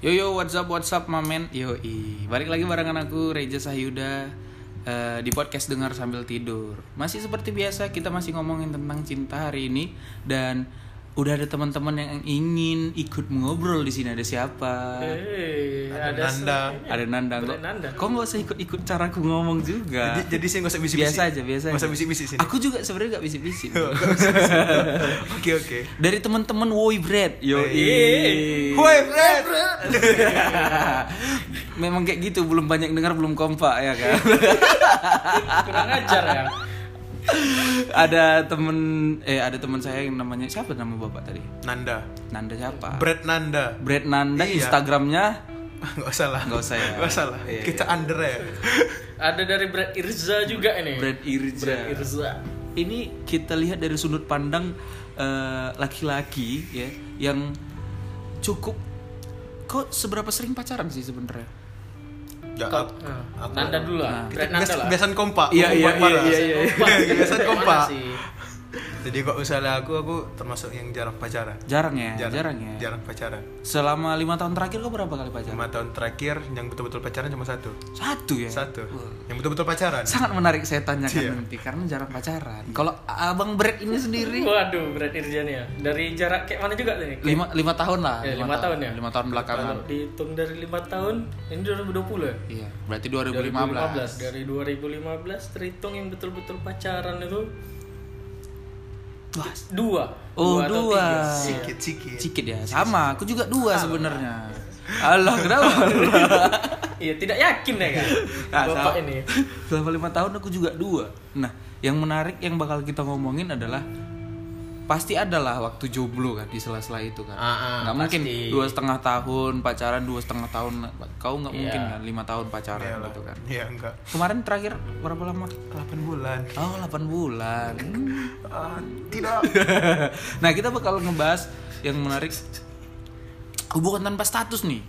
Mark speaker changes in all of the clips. Speaker 1: Yo yo, what's up, what's up, mamen? Yo i, balik lagi barengan aku Reja Sahyuda eh, di podcast dengar sambil tidur. Masih seperti biasa kita masih ngomongin tentang cinta hari ini dan udah ada teman-teman yang ingin ikut ngobrol di sini ada siapa?
Speaker 2: Eh.
Speaker 3: Hey,
Speaker 2: Ada
Speaker 3: ada
Speaker 2: Nanda.
Speaker 3: semuanya.
Speaker 1: Ada Nandang
Speaker 3: Ada
Speaker 1: kok.
Speaker 3: Nanda.
Speaker 1: Kok nggak usah ikut-ikut caraku ngomong juga?
Speaker 2: Jadi, jadi sih nggak usah bisik-bisik.
Speaker 1: Nah. biasa aja, biasa.
Speaker 2: Nggak usah
Speaker 1: aja.
Speaker 2: bisik-bisik sini.
Speaker 1: Aku juga sebenarnya nggak bisik-bisik.
Speaker 2: Oke oke.
Speaker 1: Dari teman-teman Woi Bread. Yo i.
Speaker 2: Hey. Woi, Fred.
Speaker 1: Memang kayak gitu, belum banyak dengar, belum kompak ya kan.
Speaker 3: Kurang ajar ya.
Speaker 1: ada temen eh ada teman saya yang namanya siapa nama bapak tadi?
Speaker 2: Nanda.
Speaker 1: Nanda siapa?
Speaker 2: Brad Nanda.
Speaker 1: Brad Nanda
Speaker 2: Iya.
Speaker 1: Instagramnya
Speaker 2: Nggak usah lah.
Speaker 1: Nggak usah ya.
Speaker 2: Nggak usah lah.
Speaker 1: Iya,
Speaker 2: Kita under ya.
Speaker 3: Ada dari Brad Irza juga ini.
Speaker 1: Brad Irja.
Speaker 3: Brad Irza.
Speaker 1: Ini kita lihat dari sudut pandang eh, laki-laki ya yang cukup kok seberapa sering pacaran sih sebenarnya?
Speaker 2: Ya,
Speaker 3: Kau-
Speaker 2: aku-
Speaker 3: Nah,
Speaker 2: aku-
Speaker 3: Nanda dulu lah.
Speaker 2: Kita
Speaker 3: Brad Nanda
Speaker 2: bias-
Speaker 3: lah.
Speaker 2: Biasan kompak.
Speaker 1: Iya,
Speaker 2: Kompak
Speaker 1: iya, iya,
Speaker 2: parah.
Speaker 1: iya, iya.
Speaker 2: Biasan kompak.
Speaker 3: Mana sih?
Speaker 2: Jadi kok misalnya aku aku termasuk yang jarang pacaran.
Speaker 1: Jarang ya, jarang, ya.
Speaker 2: Jarang pacaran.
Speaker 1: Selama lima tahun terakhir kok berapa kali pacaran?
Speaker 2: Lima tahun terakhir yang betul-betul pacaran cuma satu.
Speaker 1: Satu ya.
Speaker 2: Satu. Yang betul-betul pacaran.
Speaker 1: Sangat menarik saya tanyakan
Speaker 2: Iya.
Speaker 1: nanti karena jarang pacaran. Kalau Abang Brad ini sendiri
Speaker 3: Waduh, Brad Irza nih ya. Dari jarak kayak mana juga nih?
Speaker 1: lima lima tahun lah
Speaker 3: Ya, lima tahun ya?
Speaker 1: lima tahun belakangan
Speaker 3: Kalau dihitung dari 5 tahun, ini 2020 ya?
Speaker 1: iya berarti
Speaker 3: 2015.
Speaker 1: 2015
Speaker 3: Dari 2015 terhitung yang betul-betul pacaran itu
Speaker 1: wah
Speaker 3: dua.
Speaker 1: Oh,
Speaker 3: atau
Speaker 1: dua.
Speaker 3: tiga.
Speaker 2: Sikit sikit.
Speaker 1: sedikit ya sama aku juga dua sebenarnya Allah kenapa Allah?
Speaker 3: Iya, tidak yakin ya kan?
Speaker 1: Nah,
Speaker 3: Bapak
Speaker 1: sama-
Speaker 3: ini.
Speaker 1: selama lima tahun aku juga dua nah yang menarik yang bakal kita ngomongin adalah pasti adalah waktu jomblo kan di sela-sela itu kan
Speaker 3: Ah, ah,
Speaker 1: nggak mungkin
Speaker 3: pasti.
Speaker 1: dua setengah tahun pacaran dua setengah tahun kau nggak
Speaker 3: Iya.
Speaker 1: mungkin kan lima tahun pacaran
Speaker 2: Iya lah.
Speaker 1: gitu kan
Speaker 2: Iya enggak.
Speaker 1: kemarin terakhir berapa lama
Speaker 2: 8 bulan.
Speaker 1: oh 8 bulan Hmm.
Speaker 2: Ah, tidak.
Speaker 1: nah kita bakal ngebahas yang menarik hubungan tanpa status nih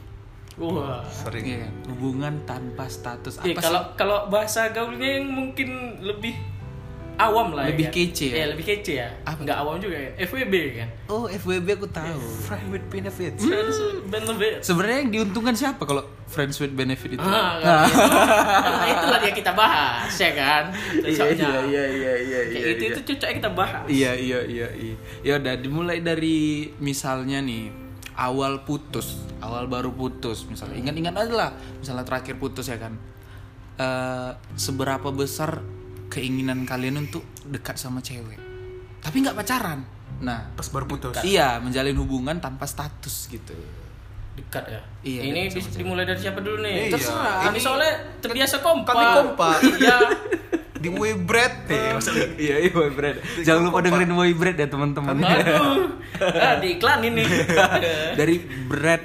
Speaker 3: Wah.
Speaker 2: Sering.
Speaker 1: Iya, hubungan tanpa status apa
Speaker 3: Iya,
Speaker 1: sih?
Speaker 3: kalau kalau bahasa gaulnya yang mungkin lebih awam lah
Speaker 1: Lebih
Speaker 3: ya. kan?
Speaker 1: kece ya?
Speaker 3: Iya, lebih kece ya. Enggak awam juga ya. FWB kan.
Speaker 1: oh FWB aku tahu
Speaker 2: Friend with benefits.
Speaker 1: Hmm.
Speaker 3: Friends with benefits.
Speaker 1: sebenarnya yang diuntungkan siapa kalau friends with benefit itu
Speaker 3: Ah, kan? Nah, itulah yang kita bahas ya kan. Besoknya.
Speaker 1: iya iya
Speaker 3: Kayak gitu, itu itu cocok yang kita bahas.
Speaker 1: iya iya iya iya ya udah dimulai dari misalnya nih awal putus awal baru putus misalnya ingat-ingat aja lah misalnya terakhir putus ya kan Eh, seberapa besar keinginan kalian untuk dekat sama cewek tapi nggak pacaran nah
Speaker 2: Pas baru putus.
Speaker 1: iya menjalin hubungan tanpa status gitu
Speaker 3: Dekat ya.
Speaker 1: Iya,
Speaker 3: ini
Speaker 1: dekat
Speaker 3: bis- dimulai dari siapa dulu nih?
Speaker 2: Iya. Terserah.
Speaker 3: Kami soalnya terbiasa kompak.
Speaker 2: Kami kompak.
Speaker 3: Iya.
Speaker 2: Di Webred. Eh, maksudnya
Speaker 1: iya iya boy bread jangan lupa dengerin boy bread ya teman-teman
Speaker 3: Iya. Aduh. Ah, di iklan ini.
Speaker 1: dari bread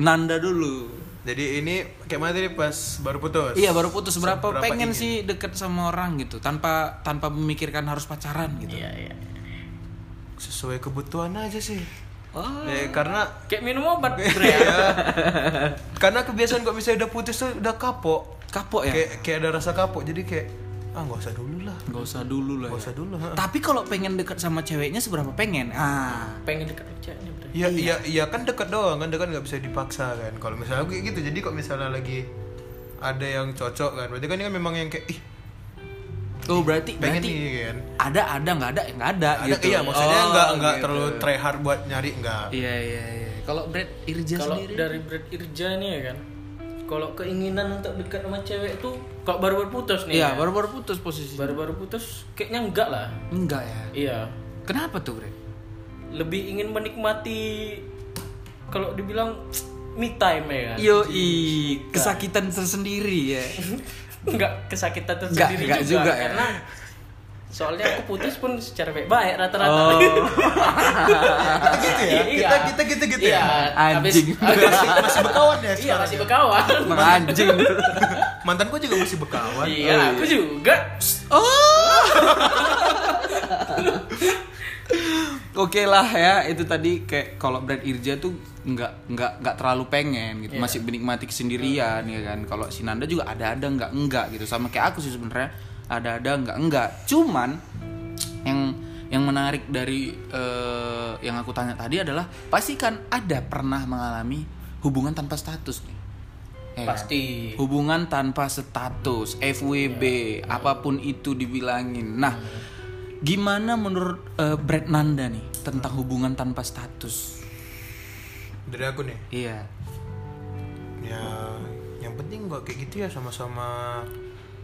Speaker 1: Nanda dulu
Speaker 2: Jadi ini kayak mana tadi pas baru putus?
Speaker 1: Iya baru putus berapa
Speaker 2: Seberapa
Speaker 1: pengen
Speaker 2: ingin?
Speaker 1: sih deket sama orang gitu tanpa tanpa memikirkan harus pacaran gitu.
Speaker 3: Iya, iya.
Speaker 2: Sesuai kebutuhan aja sih.
Speaker 1: Oh.
Speaker 2: Eh, karena
Speaker 3: Kayak minum obat, Bre.
Speaker 2: ya, karena kebiasaan kok misalnya udah putus tuh udah kapok.
Speaker 1: Kapok ya.
Speaker 2: Kayak kayak ada rasa kapok. Jadi kayak ah nggak usah dulu lah.
Speaker 1: Gak usah dulu lah.
Speaker 2: Nggak
Speaker 1: ya.
Speaker 2: usah dulu. ha.
Speaker 1: Tapi kalau pengen deket sama ceweknya seberapa pengen? Ah.
Speaker 3: pengen dekat sama ceweknya Bre.
Speaker 2: Ya, iya. ya, kan dekat doang kan dekat nggak bisa dipaksa kan. Kalau misalnya kayak gitu, jadi kok misalnya lagi ada yang cocok kan, berarti kan ini kan memang yang kayak ih
Speaker 1: Oh berarti
Speaker 2: pengen
Speaker 1: berarti
Speaker 2: nih kan.
Speaker 1: ada ada nggak ada nggak ada,
Speaker 2: Ada,
Speaker 1: gitu.
Speaker 2: Iya maksudnya
Speaker 1: Oh,
Speaker 2: nggak nggak
Speaker 1: gitu.
Speaker 2: terlalu try hard buat nyari nggak.
Speaker 1: Iya iya iya. Kalau Brad Irja
Speaker 3: kalau
Speaker 1: sendiri.
Speaker 3: dari Brad Irja nih ya kan kalau keinginan untuk dekat sama cewek tuh kalau baru-baru putus nih
Speaker 1: Iya
Speaker 3: ya,
Speaker 1: baru baru putus posisi.
Speaker 3: baru-baru putus kayaknya enggak lah
Speaker 1: Enggak ya.
Speaker 3: iya
Speaker 1: Kenapa tuh Brad?
Speaker 3: lebih ingin menikmati kalau dibilang me time ya kan
Speaker 1: Yo i kesakitan tersendiri ya.
Speaker 3: enggak kesakitan
Speaker 1: Enggak,
Speaker 3: tersendiri
Speaker 1: enggak
Speaker 3: juga,
Speaker 1: juga ya.
Speaker 3: karena soalnya aku putus pun secara baik-baik rata-rata
Speaker 1: Oh.
Speaker 2: Kita gitu ya.
Speaker 3: Iya.
Speaker 2: Kita kita gitu gitu
Speaker 3: iya,
Speaker 2: ya.
Speaker 3: habis-
Speaker 1: Anjing.
Speaker 3: habis-
Speaker 2: Masih, masih berkawan ya
Speaker 3: iya
Speaker 2: sekarang.
Speaker 3: masih
Speaker 2: ya?
Speaker 3: berkawan
Speaker 1: Emang anjing.
Speaker 2: Mantanku juga masih berkawan.
Speaker 3: iya aku juga
Speaker 1: Oh. Oke lah ya itu tadi kayak kalau Brad Irja tuh nggak nggak nggak terlalu pengen gitu masih menikmati kesendirian ya kan kalau si Nanda juga ada-ada nggak nggak gitu sama kayak aku sih sebenarnya ada-ada nggak nggak cuman yang yang menarik dari eh, yang aku tanya tadi adalah pastikan ada pernah mengalami hubungan tanpa status nih Ya kan?
Speaker 3: Pasti. Iya.
Speaker 1: hubungan tanpa status FWB apapun itu dibilangin nah gimana menurut eh, Brad Nanda nih tentang hubungan tanpa status
Speaker 2: dari aku nih
Speaker 1: iya
Speaker 2: ya yang penting gua kayak gitu ya sama-sama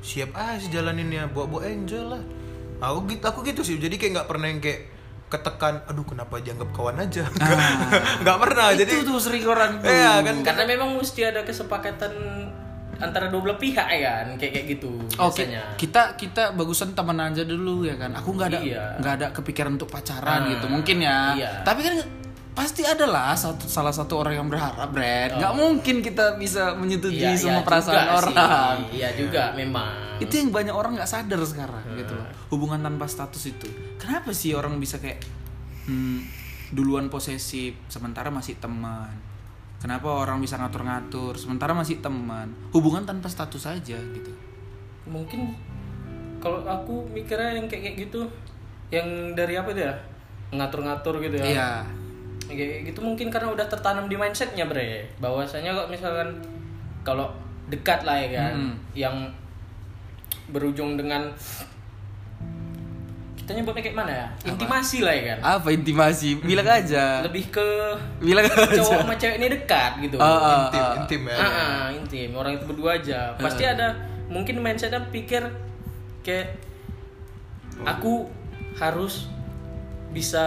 Speaker 2: siap aja sih jalaninnya buat-buat enjoy lah aku gitu aku gitu sih jadi kayak nggak pernah yang kayak ketekan aduh kenapa dianggap kawan aja nggak nggak pernah jadi
Speaker 1: Ah. itu tuh sering orang
Speaker 3: Eh,
Speaker 1: tuh
Speaker 2: iya kan
Speaker 3: Karena memang mesti ada kesepakatan antara dua belah pihak ya kan, kayak kayak gitu
Speaker 1: Oke,
Speaker 3: biasanya.
Speaker 1: kita kita bagusan teman aja dulu ya kan. Aku nggak ada
Speaker 3: Iya.
Speaker 1: nggak ada kepikiran untuk pacaran
Speaker 3: Ah,
Speaker 1: gitu mungkin ya.
Speaker 3: iya.
Speaker 1: Tapi kan pasti ada lah satu, salah satu orang yang berharap, Brad. Nggak mungkin kita bisa menyetujui
Speaker 3: Oh. Iya,
Speaker 1: semua
Speaker 3: iya
Speaker 1: perasaan
Speaker 3: juga sih.
Speaker 1: orang. Hmm.
Speaker 3: Iya juga memang.
Speaker 1: Itu yang banyak orang nggak sadar sekarang gitu loh. Hubungan tanpa status itu. Kenapa sih orang bisa kayak hmm, duluan posesif sementara masih teman? Kenapa orang bisa ngatur-ngatur sementara masih teman? Hubungan tanpa status aja gitu.
Speaker 3: mungkin kalau aku mikirnya yang kayak kayak gitu yang dari apa itu ya ngatur-ngatur gitu ya
Speaker 1: Iya.
Speaker 3: Yang kayak gitu mungkin karena udah tertanam di mindsetnya bre bahwasanya kalau misalkan kalau dekat lah ya kan
Speaker 1: Mm-mm.
Speaker 3: yang berujung dengan kita nyebutnya kayak mana ya intimasi lah ya kan
Speaker 1: apa intimasi bilang aja
Speaker 3: lebih ke
Speaker 1: bilang aja
Speaker 3: cowok sama cewek ini dekat gitu
Speaker 1: Ah, ah, ah.
Speaker 2: intim intim ya
Speaker 3: Ah, ah, intim orang itu berdua aja pasti ada mungkin mindsetnya pikir kayak aku harus bisa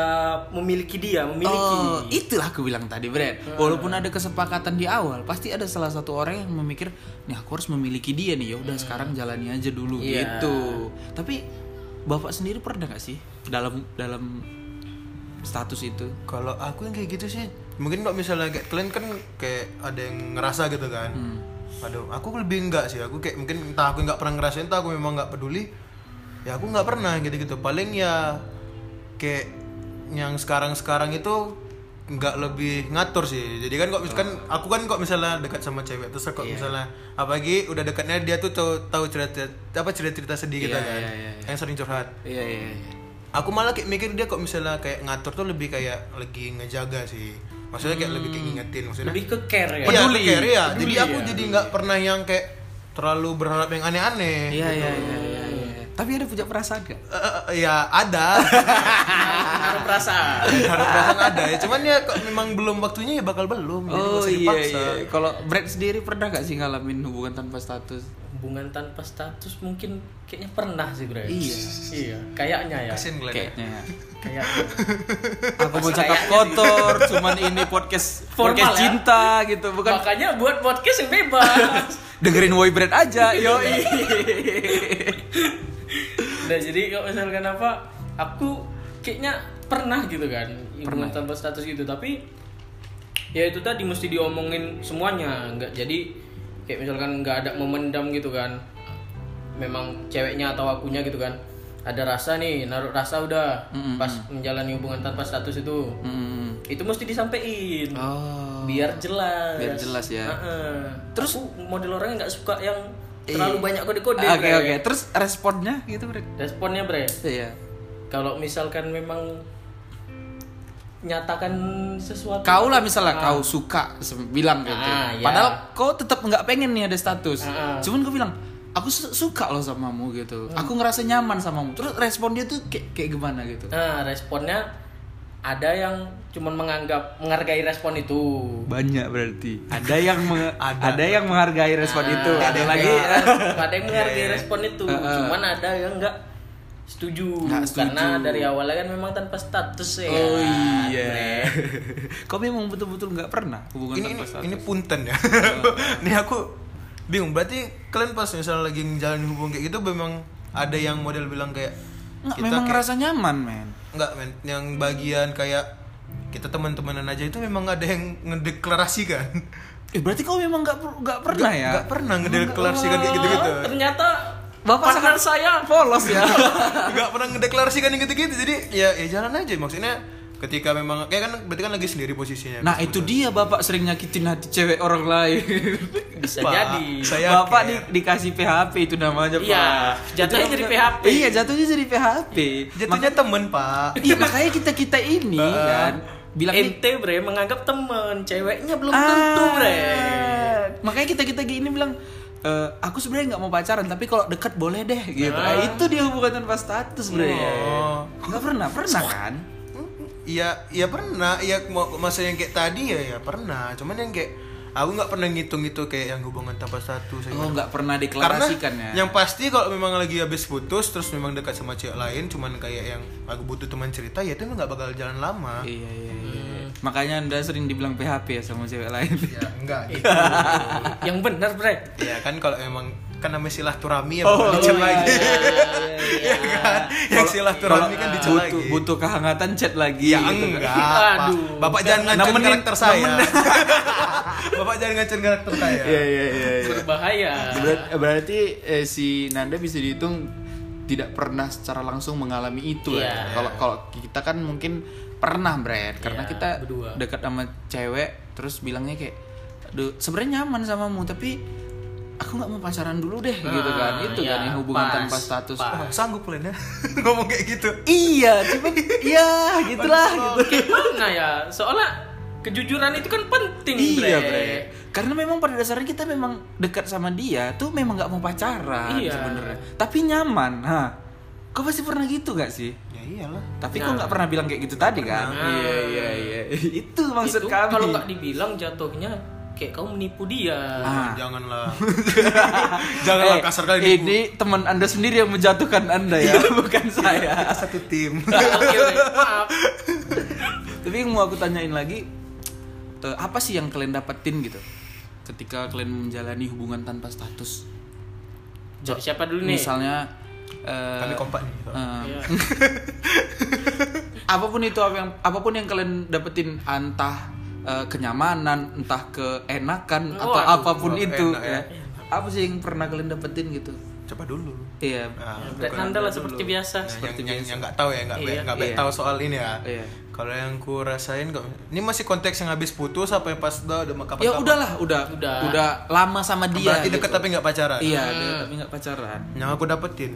Speaker 3: memiliki dia memiliki
Speaker 1: Oh, itulah aku bilang tadi, Brad. Walaupun ada kesepakatan di awal, pasti ada salah satu orang yang memikir, nih aku harus memiliki dia nih. Ya udah sekarang jalani aja dulu
Speaker 3: Iya.
Speaker 1: gitu. Tapi bapak sendiri pernah gak sih dalam dalam status itu?
Speaker 2: Kalau aku yang kayak gitu sih, mungkin kalau misalnya kayak kalian kan kayak ada yang ngerasa gitu kan.
Speaker 1: Hmm.
Speaker 2: Aduh, aku lebih enggak sih. Aku kayak mungkin entah aku nggak pernah ngerasain, entah aku memang nggak peduli. Ya aku nggak pernah gitu-gitu. Paling ya kayak yang sekarang-sekarang itu nggak lebih ngatur sih. Jadi kan kok misalkan
Speaker 1: Oh.
Speaker 2: aku kan kok misalnya dekat sama cewek terus kok
Speaker 1: Iya.
Speaker 2: misalnya apalagi udah dekatnya dia tuh tahu tahu cerita apa cerita-cerita sedih gitu
Speaker 1: Iya,
Speaker 2: kan.
Speaker 1: iya, iya, iya.
Speaker 2: Yang sering curhat
Speaker 1: Iya, iya.
Speaker 2: aku malah kayak mikir dia kok misalnya kayak ngatur tuh lebih kayak lagi ngejaga sih maksudnya kayak lebih kayak ngingetin maksudnya
Speaker 3: lebih ke care ya
Speaker 2: Iya,
Speaker 1: Hmm. peduli. iya.
Speaker 2: care, ya.
Speaker 3: Peduli,
Speaker 2: jadi aku
Speaker 3: ya.
Speaker 2: jadi nggak pernah yang kayak terlalu berharap yang aneh-aneh
Speaker 1: Iya, iya, iya, iya, iya. Tapi ada punya perasaan gak?
Speaker 2: Eh, eh, eh, ya ada
Speaker 3: Menaruh perasaan
Speaker 2: harap perasaan ada ya cuman ya kok memang belum waktunya ya bakal belum jadi nggak
Speaker 1: Oh
Speaker 2: usah
Speaker 1: iya,
Speaker 2: dipaksa.
Speaker 1: iya. Kalau Brad sendiri pernah gak sih ngalamin hubungan tanpa status?
Speaker 3: hubungan tanpa status mungkin kayaknya pernah sih bre
Speaker 1: Iya.
Speaker 3: iya kayaknya ya
Speaker 2: kasian Glenn ya.
Speaker 1: Kayaknya.
Speaker 3: kayak
Speaker 1: Aku mau cakap kotor, cuman ini podcast
Speaker 3: Formal
Speaker 1: podcast
Speaker 3: ya?
Speaker 1: cinta gitu, bukan
Speaker 3: makanya buat podcast yang bebas
Speaker 1: dengerin Boy Brand aja, yoi.
Speaker 3: Nah jadi kalau misalkan apa aku kayaknya pernah gitu kan pernah tanpa status gitu tapi ya itu tadi mesti diomongin semuanya nggak jadi kayak misalkan nggak ada memendam gitu kan memang ceweknya atau akunya gitu kan ada rasa nih naruh rasa udah pas menjalani hubungan tanpa status itu
Speaker 1: Hmm.
Speaker 3: itu mesti disampaikan
Speaker 1: Oh.
Speaker 3: biar jelas
Speaker 1: Biar jelas ya.
Speaker 3: Heeh. terus model orangnya nggak suka yang terlalu banyak kode-kode
Speaker 1: Eh. Ah, Oke
Speaker 3: Bre.
Speaker 1: oke. Terus responnya gitu Brad?
Speaker 3: responnya bre
Speaker 1: Iya.
Speaker 3: kalau misalkan memang nyatakan sesuatu
Speaker 1: Kau lah misalnya kau suka sem- bilang gitu.
Speaker 3: Ah, iya.
Speaker 1: Padahal kau tetap nggak pengen nih ada status.
Speaker 3: Ah, ah.
Speaker 1: Cuman kau bilang aku su- suka loh samamu gitu. Aku ngerasa nyaman samamu. Terus respon dia tuh kayak, kayak gimana gitu?
Speaker 3: nah responnya ada yang cuman menganggap menghargai respon itu
Speaker 1: Banyak berarti. Ada yang menge-
Speaker 2: Ada.
Speaker 1: yang menghargai respon itu.
Speaker 3: Nah,
Speaker 1: Ada lagi Iya,
Speaker 3: ada yang menghargai respon itu cuman ada yang enggak setuju.
Speaker 1: Nggak setuju.
Speaker 3: karena dari awalnya kan memang tanpa status ya
Speaker 1: Oh
Speaker 3: kan,
Speaker 1: iya.
Speaker 3: Bre.
Speaker 1: Kau memang betul-betul nggak pernah hubungan
Speaker 2: ini ini,
Speaker 1: tanpa status.
Speaker 2: ini punten ya ini aku bingung berarti kalian pas misalnya lagi ngejalanin hubungan kayak gitu memang ada yang model bilang kayak
Speaker 1: Nggak,
Speaker 2: kita
Speaker 1: memang
Speaker 2: kayak-
Speaker 1: ngerasa nyaman, men.
Speaker 2: Enggak men, yang bagian kayak kita teman-temanan aja itu memang ada yang ngedeklarasikan.
Speaker 1: Eh, berarti kau memang nggak per- nggak pernah ya?
Speaker 2: Enggak pernah ngedeklarasikan kayak gitu-gitu.
Speaker 3: Ah, ternyata
Speaker 1: kan Bapak
Speaker 3: partner saya
Speaker 1: polos ya.
Speaker 2: Enggak pernah ngedeklarasikan yang gitu-gitu. Jadi ya ya jalan aja maksudnya ketika memang kayak kan berarti kan lagi sendiri posisinya.
Speaker 1: nah, itu dia Bapak sering nyakitin hati cewek orang lain.
Speaker 3: bisa
Speaker 2: Pak,
Speaker 3: jadi
Speaker 2: Saya
Speaker 1: Bapak
Speaker 2: care.
Speaker 1: di- dikasih PHP itu namanya,
Speaker 3: Iya,
Speaker 1: Pak.
Speaker 3: jatuhnya
Speaker 1: Itu
Speaker 3: jadi
Speaker 1: namanya-
Speaker 3: PHP.
Speaker 1: Iya, jatuhnya jadi PHP.
Speaker 2: jatuhnya temen, Pak.
Speaker 1: Iya makanya kita kita ini kan bilang nih,
Speaker 3: ente bre menganggap temen ceweknya belum
Speaker 1: Ah.
Speaker 3: tentu bre
Speaker 1: Makanya kita kita gini bilang "Eh, aku sebenarnya nggak mau pacaran tapi kalau dekat boleh deh gitu. Ah,
Speaker 3: Ah.
Speaker 1: itu dia hubungan tanpa status bre.
Speaker 2: Oh.
Speaker 1: Nggak pernah pernah kan?
Speaker 2: Iya, iya pernah. Iya mau- masa yang kayak tadi ya, ya pernah. Cuman yang kayak aku nggak pernah ngitung itu kayak yang hubungan tanpa status.
Speaker 1: Oh
Speaker 2: yang-
Speaker 1: nggak pernah
Speaker 2: Karena
Speaker 1: deklarasikan ya.
Speaker 2: yang pasti kalau memang lagi habis putus terus memang dekat sama cewek lain, cuman kayak yang aku butuh teman cerita, ya itu nggak bakal jalan lama.
Speaker 1: Iya iya iya.
Speaker 3: Hmm.
Speaker 1: Makanya anda sering dibilang PHP ya sama cewek lain.
Speaker 2: Ya enggak. Gitu.
Speaker 1: Ah.
Speaker 3: yang benar bre
Speaker 2: ya kan kalau emang kan namanya silaturahmi ya
Speaker 1: Oh,
Speaker 2: bakal dicela
Speaker 1: iya,
Speaker 2: lagi.
Speaker 1: iya,
Speaker 2: Ya kan? Yang silaturahmi kan dicela
Speaker 1: butuh,
Speaker 2: lagi.
Speaker 1: butuh kehangatan chat lagi.
Speaker 2: Ya
Speaker 1: gitu kan. Nah,
Speaker 2: enggak. Pak.
Speaker 3: Aduh.
Speaker 2: Bapak jangan ngacun
Speaker 1: Nemenin-
Speaker 2: karakter saya. Bapak jangan ngacun karakter saya.
Speaker 1: Iya iya iya. iya.
Speaker 3: berbahaya
Speaker 1: Berat- berarti eh, si Nanda bisa dihitung tidak pernah secara langsung mengalami itu
Speaker 3: Iya.
Speaker 1: ya. Kalau kalau kita kan mungkin pernah, Brad, karena
Speaker 3: Iya,
Speaker 1: kita
Speaker 3: berdua.
Speaker 1: dekat sama cewek terus bilangnya kayak aduh, sebenarnya nyaman samamu tapi aku nggak mau pacaran dulu deh gitu
Speaker 3: Ah,
Speaker 1: kan. Itu
Speaker 3: iya,
Speaker 1: kan yang hubungan
Speaker 3: pas,
Speaker 1: tanpa status.
Speaker 3: pas.
Speaker 2: Wah, sanggup Len ya ngomong kayak gitu.
Speaker 1: Iya, cuman iya gitulah gitu.
Speaker 3: gimana ya soalnya kejujuran itu kan penting bre Gitu.
Speaker 1: Iya, Bre. Karena memang pada dasarnya kita memang dekat sama dia tuh memang nggak mau pacaran
Speaker 3: Iya.
Speaker 1: sebenarnya. Tapi nyaman, ha. Kau pasti pernah gitu gak sih?
Speaker 2: Ya iyalah.
Speaker 1: Tapi
Speaker 3: Nah.
Speaker 1: kau nggak pernah bilang kayak gitu tadi kan? Iya iya iya. Itu maksud
Speaker 3: Itu
Speaker 1: kami.
Speaker 3: kalau nggak dibilang jatuhnya kayak kamu menipu dia
Speaker 1: Ah.
Speaker 2: Janganlah. Janganlah
Speaker 1: Eh,
Speaker 2: kasar kali ini.
Speaker 1: Ini teman anda sendiri yang menjatuhkan anda ya,
Speaker 3: Iya.
Speaker 1: bukan saya.
Speaker 2: Satu tim.
Speaker 3: Oke, Iya, Bre, maaf
Speaker 1: Tapi yang mau aku tanyain lagi, eh, apa sih yang kalian dapetin gitu ketika kalian menjalani hubungan tanpa status?
Speaker 3: Dari siapa dulu nih
Speaker 1: Misalnya. eh,
Speaker 2: Kami kompak nih.
Speaker 1: eh,
Speaker 3: Iya.
Speaker 1: apapun itu apa yang apapun yang kalian dapetin entah eh, kenyamanan entah keenakan atau
Speaker 3: Waduh,
Speaker 1: apapun
Speaker 2: wah,
Speaker 1: itu
Speaker 2: enak
Speaker 1: ya. apa sih yang pernah kalian dapetin gitu
Speaker 2: Coba dulu.
Speaker 1: iya
Speaker 2: Nah,
Speaker 3: Bre, Nanda lah seperti biasa
Speaker 2: seperti yang, yang nggak tahu ya nggak
Speaker 3: Iya.
Speaker 2: baik nggak baik
Speaker 1: Iya.
Speaker 2: tahu soal ini ya.
Speaker 1: Iya.
Speaker 2: Kalau yang ku rasain kok ini masih konteks yang habis putus apa yang pas udah udah kapan
Speaker 1: ya udahlah udah
Speaker 3: Udah. Nah.
Speaker 1: udah lama sama dia
Speaker 2: Berarti deket
Speaker 1: gitu.
Speaker 2: tapi nggak pacaran.
Speaker 1: iya deket tapi nggak pacaran
Speaker 2: Yang aku dapetin,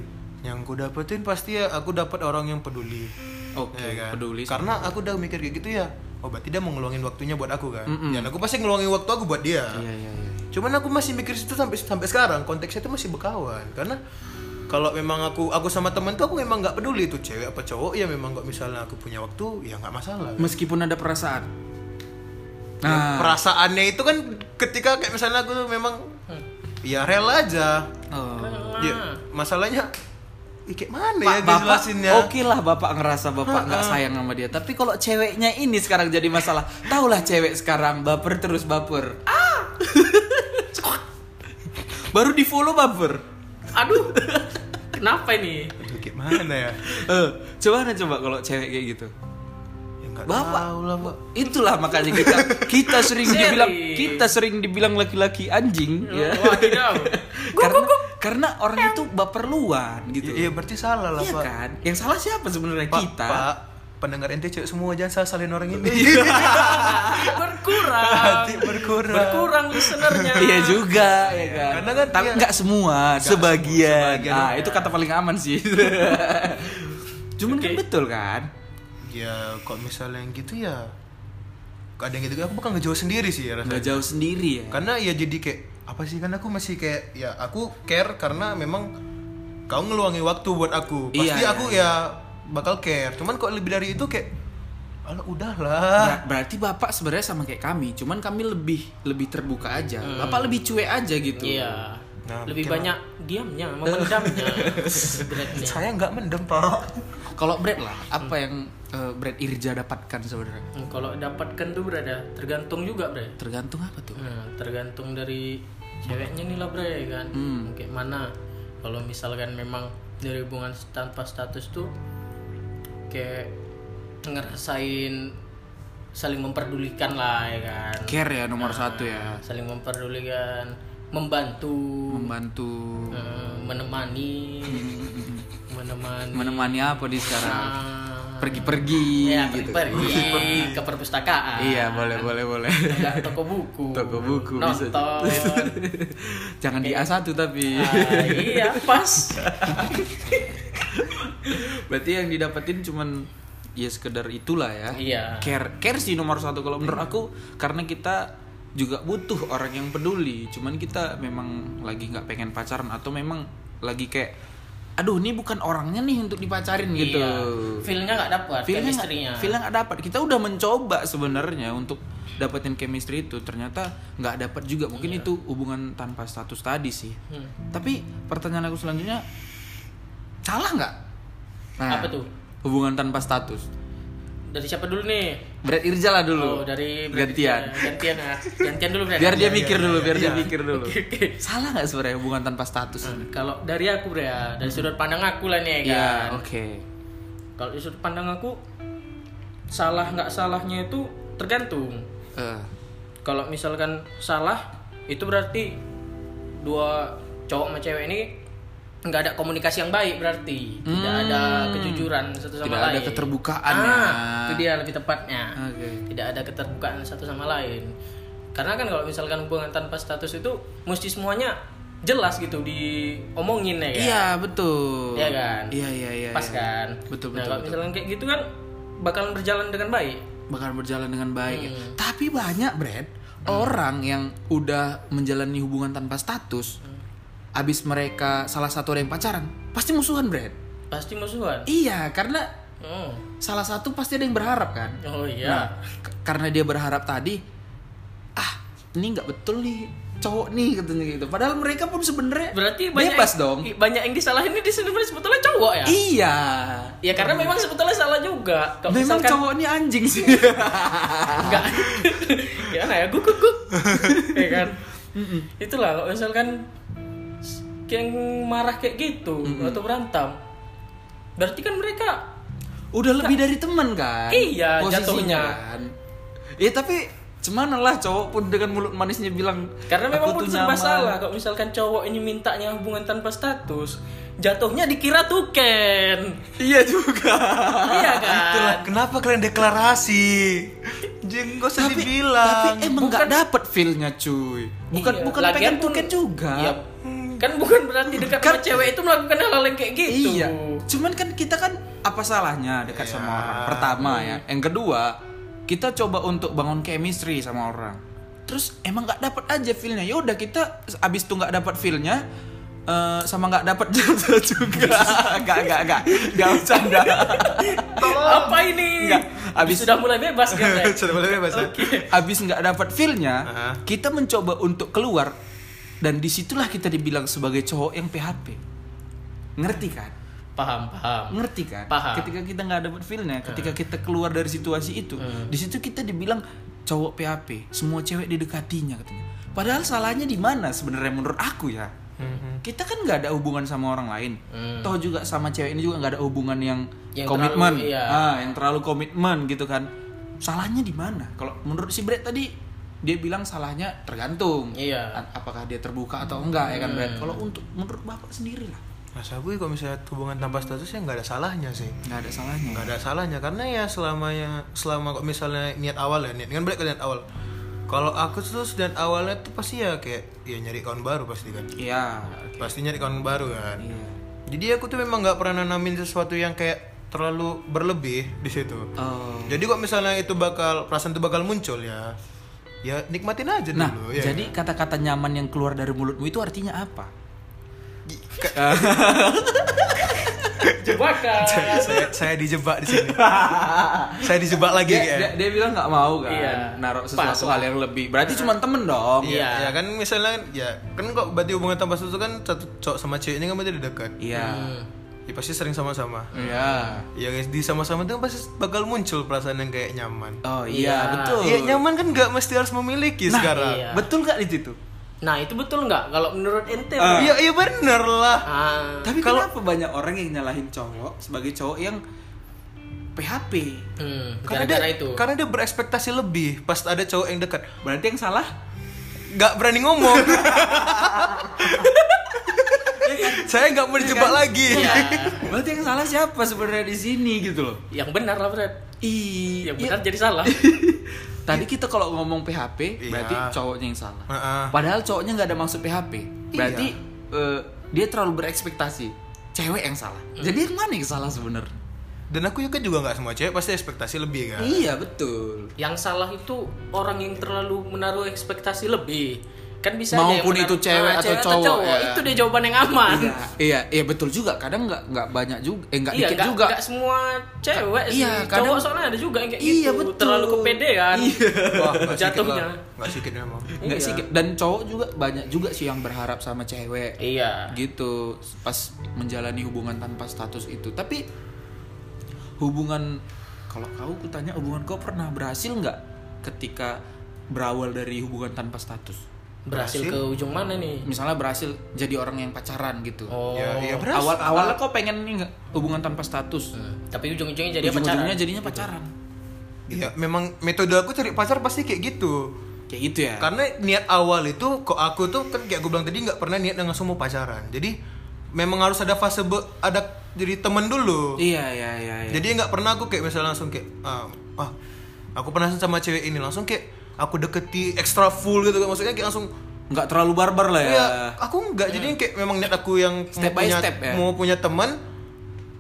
Speaker 2: yang ku dapetin pasti ya aku dapat orang yang peduli.
Speaker 1: oke
Speaker 2: Ya kan?
Speaker 1: peduli
Speaker 2: Karena aku udah mikir kayak gitu ya. Oh berarti dia mau ngeluangin waktunya buat aku kan. Dan aku pasti ngeluangin waktu aku buat dia.
Speaker 1: iya iya iya
Speaker 2: Cuman aku masih mikir situ sampai sampai sekarang konteksnya itu masih berkawan karena kalau memang aku aku sama temen tuh aku memang nggak peduli itu cewek apa cowok ya memang kok misalnya aku punya waktu ya nggak masalah.
Speaker 1: meskipun ada perasaan
Speaker 2: Ya,
Speaker 1: nah
Speaker 2: Perasaannya itu kan ketika kayak misalnya aku tuh memang ya rela aja.
Speaker 1: oh. Iya,
Speaker 2: Ya, masalahnya ih, kayak mana
Speaker 1: Pak,
Speaker 2: ya
Speaker 1: bapak,
Speaker 2: dijelasinnya?
Speaker 1: oke lah bapak ngerasa bapak nggak sayang sama dia. Tapi kalau ceweknya ini sekarang jadi masalah. Taulah cewek sekarang baper terus baper. Ah. Baru di follow baper.
Speaker 3: aduh kenapa ini
Speaker 2: Aduh, Kayak mana ya?
Speaker 1: Eh, coba ada coba kalau cewek kayak gitu.
Speaker 2: Ya nggak
Speaker 1: Bapak.
Speaker 2: tahu lah, Pak.
Speaker 1: Itulah makanya kita kita sering
Speaker 3: Serius.
Speaker 1: dibilang kita sering dibilang laki-laki anjing ya.
Speaker 3: wah tidak
Speaker 1: karena karena orang itu baperluan gitu.
Speaker 2: Ya, ya, berarti salah lah,
Speaker 1: Iya
Speaker 2: Pak.
Speaker 1: kan? Yang salah siapa sebenarnya
Speaker 2: Pak,
Speaker 1: kita?
Speaker 2: Pak, pendengar ente cewek semua jangan salah salin orang ini.
Speaker 3: berkurang
Speaker 2: Hati berkurang.
Speaker 3: berkurang listenernya
Speaker 1: Iya juga ya kan.
Speaker 2: Karena kan
Speaker 1: tapi
Speaker 2: dia-
Speaker 1: nggak semua, sebagian.
Speaker 2: sebagian
Speaker 1: ah,
Speaker 2: aja.
Speaker 1: itu kata paling aman sih. Cuman kan
Speaker 3: Oke.
Speaker 1: betul kan?
Speaker 2: Ya, kok misalnya yang gitu ya. Kadang gitu aku bakal ngejauh sendiri sih ya
Speaker 1: Nggak
Speaker 2: rasanya.
Speaker 1: jauh sendiri ya.
Speaker 2: Karena ya jadi kayak apa sih kan aku masih kayak ya aku care karena memang kau ngeluangin waktu buat aku. Pasti
Speaker 1: Iya,
Speaker 2: aku ya bakal care. Cuman kok lebih dari itu kayak Alah udahlah.
Speaker 1: Ber- Nah, berarti bapak sebenarnya sama kayak kami, cuman kami lebih lebih terbuka aja.
Speaker 2: Hmm.
Speaker 1: Bapak lebih cuek aja gitu.
Speaker 3: iya
Speaker 2: Nah,
Speaker 3: lebih
Speaker 2: mungkin-
Speaker 3: banyak diamnya memendamnya
Speaker 1: iya.
Speaker 3: Beratnya.
Speaker 2: Saya nggak mendem, Pak.
Speaker 1: Kalau Brad lah,
Speaker 2: Hmm.
Speaker 1: apa yang eh, Brad Irja dapatkan sebenarnya?
Speaker 3: Hmm, kalau dapatkan tuh berada tergantung juga bre
Speaker 1: Tergantung apa tuh?
Speaker 3: Nah, tergantung dari ceweknya nih lah bre kan
Speaker 1: Hmm.
Speaker 3: kayak mana kalau misalkan memang dari hubungan tanpa status tuh kayak ngerasain saling memperdulikan lah ya kan Nah,
Speaker 1: Care ya
Speaker 2: Ah.
Speaker 1: nomor satu ya.
Speaker 3: saling memperdulikan membantu
Speaker 1: Membantu
Speaker 3: eh, menemani
Speaker 2: Hmm.
Speaker 3: menemani
Speaker 1: menemani apa di sekarang?
Speaker 2: Ah.
Speaker 3: Nah,
Speaker 1: Pergi-pergi
Speaker 2: Iya,
Speaker 3: ya
Speaker 1: gitu.
Speaker 3: pergi ke perpustakaan
Speaker 1: Iya, boleh boleh boleh.
Speaker 3: Enggak, toko buku
Speaker 1: Toko buku, bisa.
Speaker 3: nonton
Speaker 1: Jangan di A1 tapi.
Speaker 3: Ah, iya pas
Speaker 1: Berarti yang didapetin cuman ya sekedar itulah ya
Speaker 3: Iya.
Speaker 1: care care sih nomor satu kalau menurut aku karena kita juga butuh orang yang peduli cuman kita memang lagi nggak pengen pacaran atau memang lagi kayak aduh ini bukan orangnya nih untuk dipacarin gitu
Speaker 3: Iya. Feel-nya nggak dapat.
Speaker 1: Feelnya nggak-
Speaker 3: chemistry-nya.
Speaker 1: feelnya nggak dapat. Kita udah mencoba sebenarnya untuk dapetin chemistry itu, ternyata nggak dapat juga. Mungkin itu hubungan tanpa status tadi sih.
Speaker 3: Iya. Hmm.
Speaker 1: Tapi pertanyaan aku selanjutnya salah nggak? Nah,
Speaker 3: Apa tuh?
Speaker 1: Hubungan tanpa status.
Speaker 3: Dari siapa dulu nih?
Speaker 1: Brad Irja lah dulu.
Speaker 3: Oh, dari
Speaker 1: gantian.
Speaker 3: Gantian ya. Gantian dulu Brad.
Speaker 1: Biar dia
Speaker 2: Iya,
Speaker 1: mikir
Speaker 2: iya,
Speaker 1: dulu,
Speaker 2: iya,
Speaker 1: biar dia
Speaker 2: iya.
Speaker 1: mikir dulu.
Speaker 3: Oke, oke.
Speaker 1: Salah nggak sebenarnya hubungan tanpa status ini?
Speaker 3: Kalau dari aku Bre, ya, dari sudut pandang aku lah nih kan.
Speaker 1: Hmm. Iya, oke.
Speaker 3: Kalau dari sudut pandang aku salah nggak salahnya itu tergantung.
Speaker 1: Eh,
Speaker 3: Kalau misalkan salah itu berarti dua cowok sama cewek ini nggak ada komunikasi yang baik berarti tidak
Speaker 1: Hmm.
Speaker 3: ada kejujuran satu sama
Speaker 1: Tidak
Speaker 3: lain
Speaker 1: ada keterbukaan
Speaker 3: ah,
Speaker 1: ya.
Speaker 3: itu dia lebih tepatnya
Speaker 1: Oke.
Speaker 3: tidak ada keterbukaan satu sama lain karena kan kalau misalkan hubungan tanpa status itu mesti semuanya jelas gitu diomongin ya kan
Speaker 1: Iya, betul.
Speaker 3: Iya kan?
Speaker 1: Iya, iya, iya.
Speaker 3: pas
Speaker 1: iya.
Speaker 3: kan
Speaker 1: Betul,
Speaker 3: nah
Speaker 1: betul,
Speaker 3: kalau
Speaker 1: betul.
Speaker 3: misalkan kayak gitu kan bakalan berjalan dengan baik
Speaker 1: bakal berjalan dengan baik. ya.
Speaker 3: Hmm.
Speaker 1: Tapi banyak, Brad, orang yang udah menjalani hubungan tanpa status,
Speaker 3: Hmm.
Speaker 1: abis mereka salah satu ada yang pacaran, pasti musuhan, Brad.
Speaker 3: pasti musuhan
Speaker 1: Iya, karena
Speaker 3: oh,
Speaker 1: salah satu pasti ada yang berharap kan.
Speaker 3: oh
Speaker 1: Nah,
Speaker 3: iya
Speaker 1: k- karena dia berharap tadi, ah, ini nggak betul nih cowok nih katanya gitu. Padahal mereka pun sebenarnya
Speaker 3: berarti banyak
Speaker 1: bebas dong.
Speaker 3: i- banyak yang disalahin ini sebenarnya sebetulnya cowok ya
Speaker 1: Iya.
Speaker 3: ya karena memang sebetulnya salah juga kalau
Speaker 1: Memang
Speaker 3: misalkan
Speaker 1: cowok ini anjing sih.
Speaker 3: enggak gimana ya guk guk guk ya kan itulah kalau misalkan s- yang marah kayak gitu atau berantem berarti kan mereka
Speaker 1: udah lebih dari teman kan
Speaker 3: Iya,
Speaker 1: Posisinya
Speaker 3: jatuhnya.
Speaker 1: kan. ya tapi cuman lah cowok pun dengan mulut manisnya bilang
Speaker 3: karena memang
Speaker 1: "Aku tuh
Speaker 3: putus serba
Speaker 1: nyaman."
Speaker 3: salah kalau misalkan cowok ini mintanya hubungan tanpa status jatuhnya dikira tuken
Speaker 1: iya juga
Speaker 3: iya kan
Speaker 2: Itulah kenapa kalian deklarasi. Jeng gak usah
Speaker 1: tapi
Speaker 2: dibilang.
Speaker 1: tapi emang nggak dapet feelnya cuy bukan
Speaker 3: Iya.
Speaker 1: bukan
Speaker 3: Lagian
Speaker 1: pengen
Speaker 3: pun-
Speaker 1: tuken juga Kan-
Speaker 3: Iya. kan bukan berarti dekat sama cewek itu melakukan hal-hal yang kayak gitu
Speaker 1: iya cuman kan kita kan apa salahnya dekat sama orang pertama ya yang kedua kita coba untuk bangun chemistry sama orang terus emang nggak dapet aja feelnya ya udah kita abis itu nggak dapet feelnya eh, sama nggak dapet jasa juga nggak nggak nggak nggak bercanda
Speaker 3: apa ini
Speaker 1: Enggak, abis-
Speaker 3: sudah mulai bebas kan Ren?
Speaker 2: Sudah boleh bebas ya?
Speaker 1: abis nggak dapet feelnya
Speaker 2: Aha.
Speaker 1: kita mencoba untuk keluar dan disitulah kita dibilang sebagai cowok yang PHP ngerti kan
Speaker 3: paham paham
Speaker 1: ngerti kan
Speaker 3: Paham.
Speaker 1: ketika kita nggak dapet feelnya ketika kita keluar dari situasi itu di situ kita dibilang cowok PHP semua cewek didekatinya katanya padahal salahnya di mana sebenarnya menurut aku ya kita kan nggak ada hubungan sama orang lain
Speaker 3: Mhm. Hmm.
Speaker 1: toh juga sama cewek ini juga nggak ada hubungan yang,
Speaker 3: Yang
Speaker 1: komitmen
Speaker 3: terlalu, iya.
Speaker 1: Ah, yang terlalu komitmen gitu kan salahnya di mana kalau menurut si Brett tadi dia bilang salahnya tergantung
Speaker 3: Iya. Hmm.
Speaker 1: A- apakah dia terbuka atau enggak ya kan Brett kalau untuk menurut bapak sendiri lah
Speaker 2: Mas aku kalau misalnya hubungan tanpa status ya nggak ada salahnya sih.
Speaker 1: nggak ada salahnya
Speaker 2: nggak ada salahnya karena ya selama ya selama kok misalnya niat awal ya niat kan balik ke niat awal kalau aku tuh niat awalnya tuh pasti ya kayak ya nyari kawan baru pasti kan
Speaker 1: iya
Speaker 2: pasti nyari kawan baru kan
Speaker 1: iya
Speaker 2: jadi aku tuh memang nggak pernah nanamin sesuatu yang kayak terlalu berlebih di situ
Speaker 1: Oh.
Speaker 2: jadi kok misalnya itu bakal perasaan itu bakal muncul ya ya nikmatin aja
Speaker 1: Nah,
Speaker 2: dulu ya
Speaker 1: jadi kata-kata nyaman yang keluar dari mulutmu itu artinya apa?
Speaker 3: jebakan
Speaker 2: saya, saya dijebak di sini saya dijebak lagi ya. iya.
Speaker 1: Dia,
Speaker 2: kayak
Speaker 1: dia, dia bilang nggak mau kan,
Speaker 3: Iya.
Speaker 1: naruh sesuatu hal yang lebih. Berarti cuma temen dong.
Speaker 3: Iya.
Speaker 2: Ya kan misalnya ya kan kok berarti hubungan tanpa status itu kan satu cowok sama cewek ini kan berarti udah dekat.
Speaker 1: Iya.
Speaker 3: Hmm.
Speaker 2: Ya pasti sering sama-sama.
Speaker 1: Iya.
Speaker 2: Ya guys, di sama-sama itu kan pasti bakal muncul perasaan yang kayak nyaman.
Speaker 1: Oh iya,
Speaker 3: Iya.
Speaker 1: betul.
Speaker 2: Iya, nyaman kan nggak mesti harus memiliki sekarang.
Speaker 3: iya.
Speaker 1: Betul nggak di situ?
Speaker 3: nah itu betul nggak kalau menurut ente
Speaker 1: Ah.
Speaker 3: Bro?
Speaker 2: Iya, iya bener lah.
Speaker 3: ah
Speaker 1: Tapi kalau kenapa banyak orang yang nyalahin cowok sebagai cowok yang PHP?
Speaker 3: hmm,
Speaker 2: Karena
Speaker 3: gara-gara
Speaker 2: dia,
Speaker 3: itu
Speaker 1: kan-
Speaker 2: karena dia berekspektasi lebih pas ada cowok yang dekat.
Speaker 1: Berarti yang salah?
Speaker 2: Nggak berani ngomong. Saya nggak mau dijebak lagi.
Speaker 3: ya
Speaker 1: Berarti yang salah siapa sebenarnya di sini gitu loh?
Speaker 3: yang benar lah Fred
Speaker 1: Iya.
Speaker 3: yang benar jadi salah
Speaker 1: Tadi kita kalau ngomong PHP,
Speaker 2: Iya.
Speaker 1: berarti cowoknya yang salah.
Speaker 2: Heeh.
Speaker 1: Padahal cowoknya nggak ada maksud PHP. Berarti eh, dia terlalu berekspektasi. Cewek yang salah. Jadi yang mana yang salah sebenarnya?
Speaker 2: dan aku juga juga nggak semua cewek pasti ekspektasi lebih kan
Speaker 1: Iya betul.
Speaker 3: yang salah itu orang yang terlalu menaruh ekspektasi lebih kan bisa aja yang
Speaker 1: Maupun
Speaker 3: menaruh-
Speaker 1: itu cewek
Speaker 3: Ah,
Speaker 1: atau cowok, ya.
Speaker 3: itu dia jawaban yang aman
Speaker 1: Iya, iya, iya betul juga. Kadang nggak nggak banyak juga, eh nggak
Speaker 3: iya
Speaker 1: dikit
Speaker 3: nggak
Speaker 1: juga.
Speaker 3: nggak semua cewek sih
Speaker 1: Iya,
Speaker 3: cowok
Speaker 1: kadang-
Speaker 3: soalnya ada juga yang kayak
Speaker 1: Iya,
Speaker 3: gitu
Speaker 1: betul.
Speaker 3: terlalu kepedean
Speaker 1: Iya.
Speaker 2: wah nggak sikit
Speaker 3: Jatuhnya.
Speaker 2: lah nggak sikit memang
Speaker 1: Nggak sih. Dan cowok juga banyak juga sih yang berharap sama cewek.
Speaker 3: iya
Speaker 1: Gitu. Pas menjalani hubungan tanpa status itu. Tapi hubungan kalau kau kutanya hubungan kau pernah berhasil nggak ketika berawal dari hubungan tanpa status?
Speaker 3: berhasil
Speaker 2: Berhasil.
Speaker 3: ke ujung mana nih
Speaker 1: Misalnya berhasil jadi orang yang pacaran gitu.
Speaker 3: oh
Speaker 2: ya ya berhasil.
Speaker 1: Awal awalnya kau pengen nih nggak hubungan tanpa status.
Speaker 3: tapi ujung-ujungnya jadi
Speaker 1: Jadi
Speaker 3: pacaran
Speaker 1: Eh. ujung-ujungnya jadinya pacaran. Gitu.
Speaker 2: Iya, memang metode aku cari pacar pasti kayak gitu.
Speaker 1: Kayak gitu ya.
Speaker 2: Karena niat awal itu kok aku tuh kan kayak aku bilang tadi nggak pernah niat yang langsung mau pacaran. Jadi memang harus ada fase be- ada jadi temen dulu.
Speaker 1: Iya, iya, iya, iya.
Speaker 2: Jadi nggak pernah aku kayak misalnya langsung kayak ah, ah, aku penasaran sama cewek ini langsung kayak aku deketi extra full gitu kan maksudnya kayak langsung
Speaker 1: nggak terlalu barbar lah ya.
Speaker 2: ya aku nggak jadi kayak memang niat aku yang
Speaker 1: Iya. Step
Speaker 2: mau
Speaker 1: by
Speaker 2: punya,
Speaker 1: step, ya?
Speaker 2: mau punya teman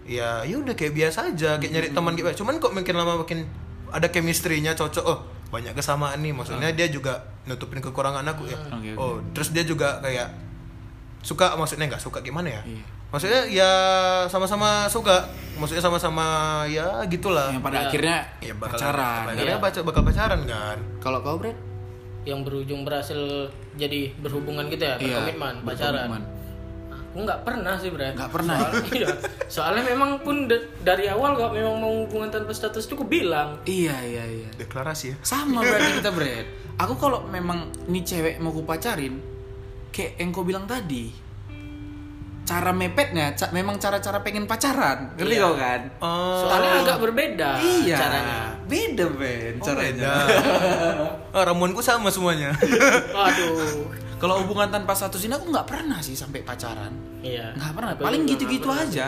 Speaker 2: ya ya udah kayak biasa aja kayak nyari teman gitu cuman kok makin lama makin ada chemistry-nya cocok oh banyak kesamaan nih maksudnya dia juga nutupin kekurangan aku ya
Speaker 1: Ah. Mm. Oke, oke.
Speaker 2: oh terus dia juga kayak suka maksudnya nggak suka gimana ya
Speaker 1: Iya.
Speaker 2: maksudnya ya sama-sama suka maksudnya sama-sama ya gitulah
Speaker 1: Yang pada akhirnya
Speaker 2: ya bakal
Speaker 1: Iya. pacaran. iya.
Speaker 2: ya bakal, bakal pacaran kan
Speaker 1: Kalau kau Brad?
Speaker 3: yang berujung berhasil jadi berhubungan gitu ya
Speaker 1: Iya,
Speaker 3: berkomitmen
Speaker 1: berkomitmen.
Speaker 3: pacaran aku nggak pernah sih bre
Speaker 1: Nggak pernah. ya?
Speaker 3: soalnya, iya. Soalnya memang pun da- dari awal kalau memang mau hubungan tanpa status itu aku bilang
Speaker 1: Iya, iya, iya.
Speaker 2: deklarasi ya
Speaker 1: Sama berarti kita Brad. Aku kalau memang nih cewek mau ku pacarin, kayak yang kau bilang tadi, cara mepetnya, ca- memang cara-cara pengen pacaran, ngerti
Speaker 3: Iya.
Speaker 1: kau kan?
Speaker 2: Oh,
Speaker 3: soalnya agak berbeda
Speaker 1: iya.
Speaker 3: caranya
Speaker 1: Beda Ben caranya.
Speaker 2: oh, ramuanku sama semuanya
Speaker 3: waduh
Speaker 1: kalau hubungan tanpa status ini aku nggak pernah sih sampai pacaran.
Speaker 3: iya
Speaker 1: Nggak pernah.
Speaker 3: Aku
Speaker 1: Paling
Speaker 3: juga
Speaker 1: gitu-gitu
Speaker 3: nggak pernah.
Speaker 1: aja.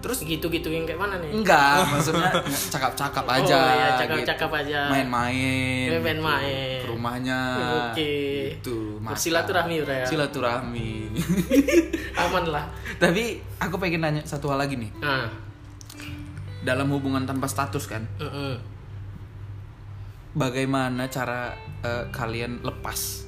Speaker 1: Terus
Speaker 3: gitu-gitu yang kayak mana nih
Speaker 1: Enggak, maksudnya cakap-cakap Hmm. aja. gitu.
Speaker 3: Oh, iya, cakap-cakap aja.
Speaker 1: Main-main.
Speaker 3: Main- main-main.
Speaker 1: Ke rumahnya.
Speaker 3: Oke.
Speaker 1: Itu.
Speaker 3: Bersilaturahmi, Bro, ya?
Speaker 1: Silaturahmi.
Speaker 3: aman lah
Speaker 1: Tapi aku pengen nanya satu hal lagi nih.
Speaker 3: nah
Speaker 1: Dalam hubungan tanpa status kan,
Speaker 3: mm-mm.
Speaker 1: bagaimana cara eh, kalian lepas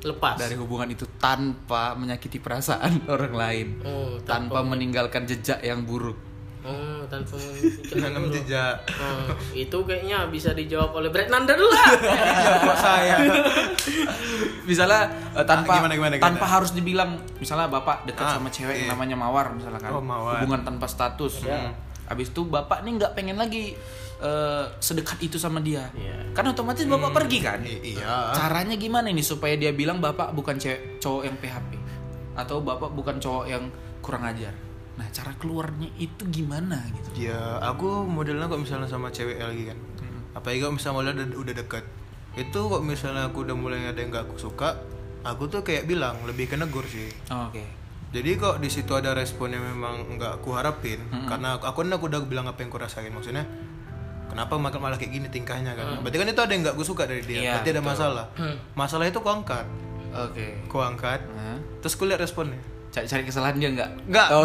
Speaker 3: lepas
Speaker 1: dari hubungan itu tanpa menyakiti perasaan orang lain?
Speaker 3: oh tanpa
Speaker 1: Tanpa meninggalkan jejak yang buruk.
Speaker 3: oh tanpa
Speaker 2: Tanam
Speaker 3: menunjukkan
Speaker 2: jejak.
Speaker 3: Oh, itu kayaknya bisa dijawab oleh Brad Nander lah
Speaker 2: Iya, kok saya.
Speaker 1: Misalnya eh, tanpa
Speaker 2: Ah, gimana, gimana, gimana?
Speaker 1: tanpa harus dibilang misalnya bapak dekat
Speaker 2: Ah,
Speaker 1: sama cewek yang
Speaker 2: iya.
Speaker 1: namanya mawar misalnya kan.
Speaker 2: Oh, Mawar.
Speaker 1: Hubungan tanpa status.
Speaker 3: Iya.
Speaker 1: Hmm. Abis itu bapak nih nggak pengen lagi eh, sedekat itu sama dia.
Speaker 3: Iya.
Speaker 1: Kan otomatis bapak pergi kan.
Speaker 2: Hmm, I- iya.
Speaker 1: Caranya gimana ini supaya dia bilang bapak bukan cewek cowok yang PHP atau bapak bukan cowok yang kurang ajar. Nah, cara keluarnya itu gimana gitu.
Speaker 2: Ya, aku modelnya kok misalnya sama cewek lagi kan. Apalagi kalau misalnya udah udah dekat. Itu kok misalnya aku udah mulai ada yang gak aku suka, aku tuh kayak bilang lebih ke negur sih.
Speaker 1: Oke.
Speaker 2: Jadi kok di situ ada respon yang memang nggak aku harapin karena aku, aku kan aku udah bilang apa yang aku rasain maksudnya kenapa malah malah kayak gini tingkahnya kan. Berarti kan itu ada yang nggak aku suka dari dia.
Speaker 1: Iya,
Speaker 2: Berarti ada masalah.
Speaker 3: Hmm.
Speaker 2: Masalah itu aku angkat.
Speaker 1: Oke.
Speaker 2: Aku angkat.
Speaker 1: Nah,
Speaker 2: Terus aku lihat responnya.
Speaker 1: cari, cari kesalahan dia nggak?
Speaker 2: Nggak.
Speaker 1: Oh,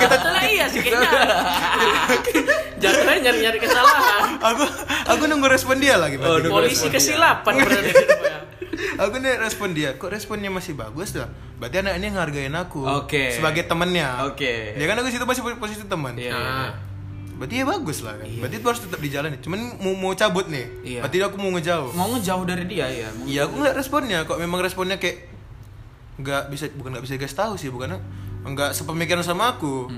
Speaker 3: kita lah iya sih kayaknya jatuhnya nyari nyari kesalahan
Speaker 2: aku aku nunggu respon dia lagi
Speaker 1: Oh,
Speaker 2: berarti.
Speaker 1: nunggu
Speaker 3: polisi
Speaker 1: respon
Speaker 3: kesilapan berarti ya.
Speaker 2: aku nih respon dia kok responnya masih bagus dah berarti anak ini ngehargain aku
Speaker 1: Oke.
Speaker 2: sebagai temennya
Speaker 1: Oke.
Speaker 2: ya kan aku situ masih pos- posisi teman
Speaker 1: Iya.
Speaker 3: nah
Speaker 2: berarti ya bagus lah kan berarti itu harus tetap dijalani cuman mau mau cabut nih
Speaker 1: Iya.
Speaker 2: berarti aku mau ngejauh
Speaker 1: mau ngejauh dari dia ya. Mau
Speaker 2: Iya aku ngeliat responnya kok memang responnya kayak nggak bisa bukan nggak bisa guys tahu sih bukan nggak sepemikiran sama aku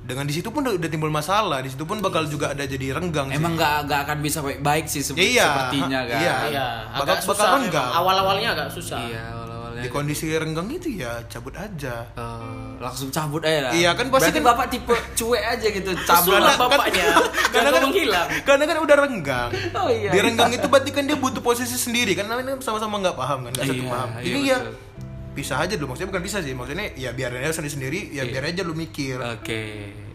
Speaker 2: dengan di situ pun udah, udah timbul masalah di situ pun bakal juga ada jadi renggang sih.
Speaker 1: Emang nggak nggak akan bisa baik-baik sih sebe-
Speaker 2: Iya,
Speaker 1: sepertinya kan.
Speaker 2: iya.
Speaker 3: iya
Speaker 2: Bakal-
Speaker 3: agak
Speaker 2: bakal
Speaker 3: susah
Speaker 2: renggang.
Speaker 3: awal awalnya agak susah
Speaker 1: Iya, awal-awalnya.
Speaker 2: di kondisi renggang itu ya cabut aja
Speaker 1: Eh, langsung cabut aja lah.
Speaker 2: Iya, kan pasti
Speaker 1: Berarti
Speaker 2: kan-
Speaker 1: bapak tipe cuek aja gitu
Speaker 3: Cabut
Speaker 1: cabut.
Speaker 3: lah
Speaker 1: lah.
Speaker 3: bapaknya
Speaker 2: karena
Speaker 3: Jangan
Speaker 2: kan
Speaker 3: menghilang
Speaker 2: karena kan udah renggang
Speaker 1: Oh iya.
Speaker 2: di renggang itu berarti kan dia butuh posisi sendiri kan namanya sama-sama nggak paham kan nggak satu
Speaker 1: Iya,
Speaker 2: paham
Speaker 1: iya,
Speaker 2: jadi ya
Speaker 1: betul.
Speaker 2: pisah aja dulu maksudnya bukan pisah sih maksudnya ya biarin aja sendiri sendiri
Speaker 1: Iya.
Speaker 2: ya biar aja lu mikir
Speaker 1: Oke.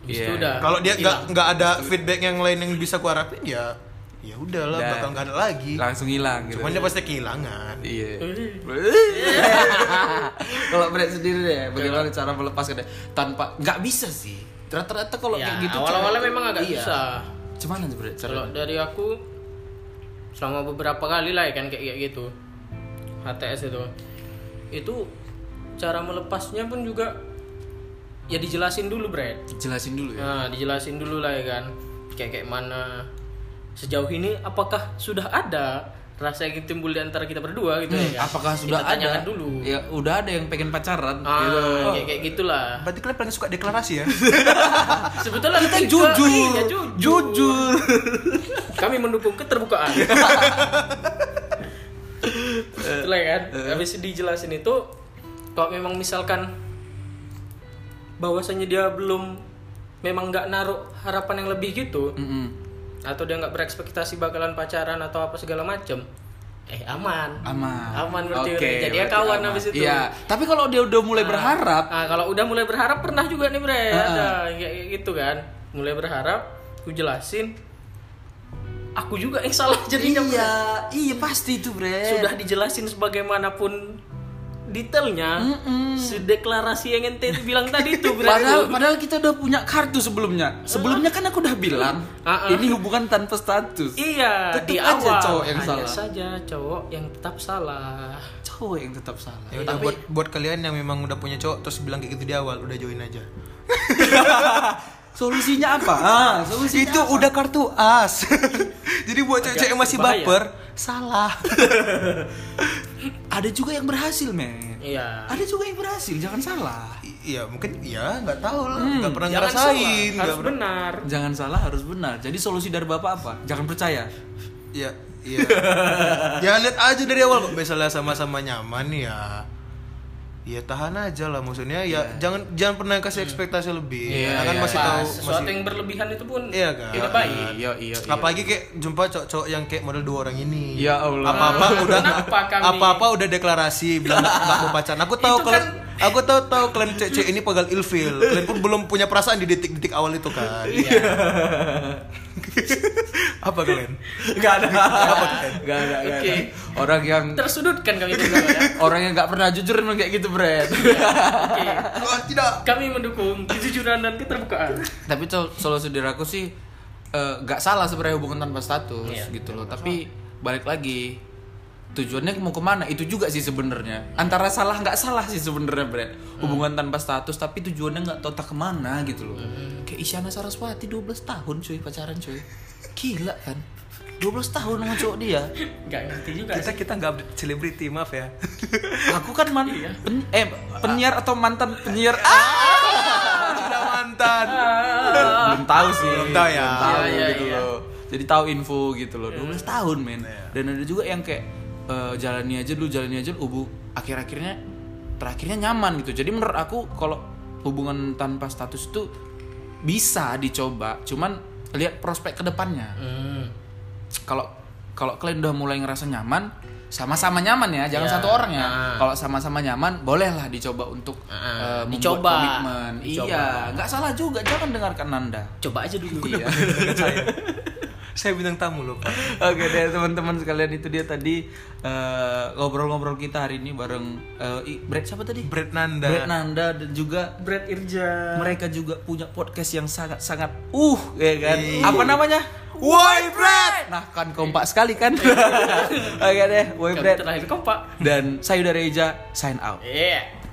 Speaker 3: Habis
Speaker 1: Iya.
Speaker 3: itu udah
Speaker 2: kalau dia nggak nggak ada feedback yang lain yang bisa ku harapin ya ya udahlah
Speaker 1: Udah.
Speaker 2: bakal nggak ada lagi
Speaker 1: Langsung hilang gitu.
Speaker 2: cuman dia pasti kehilangan
Speaker 1: Iya. Kalau Brad sendiri deh, bagaimana cara melepaskan dia? tanpa nggak bisa sih. rata-rata kalau
Speaker 3: ya,
Speaker 1: kayak gitu cewek
Speaker 3: awal-awalnya
Speaker 1: tuh-
Speaker 3: memang agak
Speaker 1: iya.
Speaker 3: susah
Speaker 1: Cuman aja bro, cara-
Speaker 3: kalau dari aku selama beberapa kali lah ya kan kayak kayak gitu HTS itu itu cara melepasnya pun juga ya dijelasin dulu Brad
Speaker 1: jelasin dulu ya.
Speaker 3: Nah, dijelasin dulu lah ya kan. Kayak kayak mana sejauh ini apakah sudah ada rasa yang timbul di antara kita berdua gitu ya
Speaker 1: Hmm,
Speaker 3: kan?
Speaker 1: apakah sudah
Speaker 3: Kita tanyakan
Speaker 1: ada
Speaker 3: dulu.
Speaker 1: Ya udah ada yang pengen pacaran
Speaker 3: Ah,
Speaker 1: gitu.
Speaker 3: kayak kayak gitulah.
Speaker 1: Iya.
Speaker 2: Berarti kalian paling suka deklarasi ya?
Speaker 3: Sebetulnya
Speaker 1: Kita
Speaker 3: lebih ke-
Speaker 1: Eh, jujur.
Speaker 3: iya, jujur.
Speaker 1: Jujur.
Speaker 3: Kami mendukung keterbukaan. Itulah ya kan.
Speaker 1: Eh.
Speaker 3: Habis dijelasin itu kalau memang misalkan bahwasanya dia belum memang nggak naruh harapan yang lebih gitu,
Speaker 1: Mm-mm.
Speaker 3: atau dia nggak berekspektasi bakalan pacaran atau apa segala macem eh aman
Speaker 1: Aman.
Speaker 3: aman berarti
Speaker 1: Oke,
Speaker 3: jadi ya
Speaker 1: berarti
Speaker 3: kawan
Speaker 1: aman.
Speaker 3: habis itu
Speaker 1: Iya, tapi kalau dia udah mulai
Speaker 3: Nah,
Speaker 1: berharap,
Speaker 3: nah, kalau udah mulai berharap pernah juga nih bre
Speaker 1: Ah.
Speaker 3: ada kayak kayak gitu kan mulai berharap aku jelasin aku juga yang salah jadinya Bre.
Speaker 1: iya, iya pasti itu, Bre.
Speaker 3: sudah dijelasin sebagaimanapun detailnya sedeklarasi yang ente itu bilang tadi itu bre
Speaker 1: Padahal, padahal kita udah punya kartu sebelumnya. Sebelumnya kan aku udah bilang,
Speaker 3: Ah, ah.
Speaker 1: ini hubungan tanpa status.
Speaker 3: iya
Speaker 1: Tetep
Speaker 3: di
Speaker 1: aja
Speaker 3: awal
Speaker 1: cowok yang
Speaker 3: hanya
Speaker 1: salah.
Speaker 3: saja cowok yang tetap salah
Speaker 1: Cowok yang tetap salah.
Speaker 2: Ya udah buat buat kalian yang memang udah punya cowok terus bilang kayak gitu di awal, udah join aja.
Speaker 1: Solusinya apa? Ah, solusinya
Speaker 2: itu udah kartu as. Jadi buat cewek-cewek yang masih
Speaker 3: bahaya.
Speaker 2: baper, salah.
Speaker 1: ada juga yang berhasil, men.
Speaker 3: iya
Speaker 1: Ada juga yang berhasil, jangan salah.
Speaker 2: I- Iya, mungkin iya, nggak tahu lah, nggak pernah
Speaker 3: Jangan
Speaker 2: ngerasain,
Speaker 3: salah,
Speaker 2: nggak
Speaker 3: Hmm, harus
Speaker 2: pernah.
Speaker 3: benar
Speaker 1: Jangan salah harus benar. Jadi solusi dari Bapak apa? Jangan percaya.
Speaker 2: Iya, iya. ya lihat aja dari awal kok misalnya sama-sama nyaman ya. Ya tahan aja lah maksudnya ya jangan jangan pernah kasih ekspektasi lebih. Karena kan masih
Speaker 3: Iya. Pas,
Speaker 2: tahu
Speaker 3: Iya. sesuatu
Speaker 2: masih
Speaker 3: yang berlebihan itu pun
Speaker 2: Iya kan?
Speaker 3: tidak baik
Speaker 1: Iya, iya.
Speaker 2: apalagi kayak jumpa cowok-cowok yang kayak model dua orang ini.
Speaker 1: Ya Allah.
Speaker 2: Apa-apa udah
Speaker 3: Kenapa kami?
Speaker 2: apa-apa udah deklarasi bilang nggak nggak mau pacaran. Aku tahu
Speaker 3: Itu kan-
Speaker 2: kalian aku tahu tahu kalian cewek ini pegal ilfil. Kalian pun belum punya perasaan di detik-detik awal itu kan.
Speaker 3: Iya.
Speaker 2: apa kalian?
Speaker 1: Enggak ada. Enggak ada. nggak ada.
Speaker 3: Oke.
Speaker 1: Orang yang
Speaker 3: tersudutkan kami berdua ya
Speaker 1: orang yang nggak pernah jujur memang kayak gitu, Bret.
Speaker 3: Oke.
Speaker 2: Oh, tidak.
Speaker 3: kami mendukung kejujuran dan keterbukaan
Speaker 1: Tapi col- solusi dari aku sih eh, nggak salah sebenarnya hubungan tanpa status gitu loh. Tapi balik lagi tujuannya mau kemana itu juga sih sebenarnya antara salah nggak salah sih sebenarnya Bret hubungan tanpa status tapi tujuannya nggak tahu tak kemana gitu loh kayak Isyana Saraswati 12 tahun cuy pacaran cuy gila kan 12 tahun sama cowok dia
Speaker 3: nggak ngerti juga
Speaker 2: Kita kita nggak update selebriti, maaf ya.
Speaker 1: aku kan man pen- eh penyiar atau mantan penyiar ah
Speaker 2: Sudah mantan.
Speaker 3: Eh, Ah.
Speaker 1: belum tahu sih
Speaker 2: Belum tahu ya.
Speaker 1: Belum tahu
Speaker 3: Iya, iya,
Speaker 1: gitu
Speaker 3: iya.
Speaker 1: loh jadi tahu info gitu loh 12 tahun men dan ada juga yang kayak eh, jalani aja dulu jalani aja dulu, ubu akhir akhirnya terakhirnya nyaman gitu jadi menurut aku kalau hubungan tanpa status itu bisa dicoba cuman lihat prospek kedepannya
Speaker 3: Hmm.
Speaker 1: kalau kalau kalian udah mulai ngerasa nyaman sama-sama nyaman ya jangan
Speaker 3: Iya.
Speaker 1: satu orang ya
Speaker 3: Ah.
Speaker 1: kalau sama-sama nyaman bolehlah dicoba untuk
Speaker 3: Ah,
Speaker 1: eh, membuat
Speaker 3: dicoba.
Speaker 1: komitmen
Speaker 3: Dicoba.
Speaker 1: iya nggak salah juga jangan dengarkan anda
Speaker 3: coba aja dulu ya.
Speaker 1: iya
Speaker 2: Saya bintang tamu loh, Pak.
Speaker 1: oke deh teman-teman sekalian itu dia tadi eh, ngobrol-ngobrol kita hari ini bareng eh, I- Brad siapa tadi
Speaker 2: Brad Nanda.
Speaker 1: Brad Nanda dan juga
Speaker 3: Brad Irja
Speaker 1: mereka juga punya podcast yang sangat-sangat uh ya kan apa namanya
Speaker 2: Why Iya. Brad? Iya.
Speaker 1: nah kan kompak sekali kan oke deh Woi
Speaker 3: kami
Speaker 1: Brad
Speaker 3: terakhir kompak
Speaker 1: dan saya Sayudara Eja sign out
Speaker 3: iya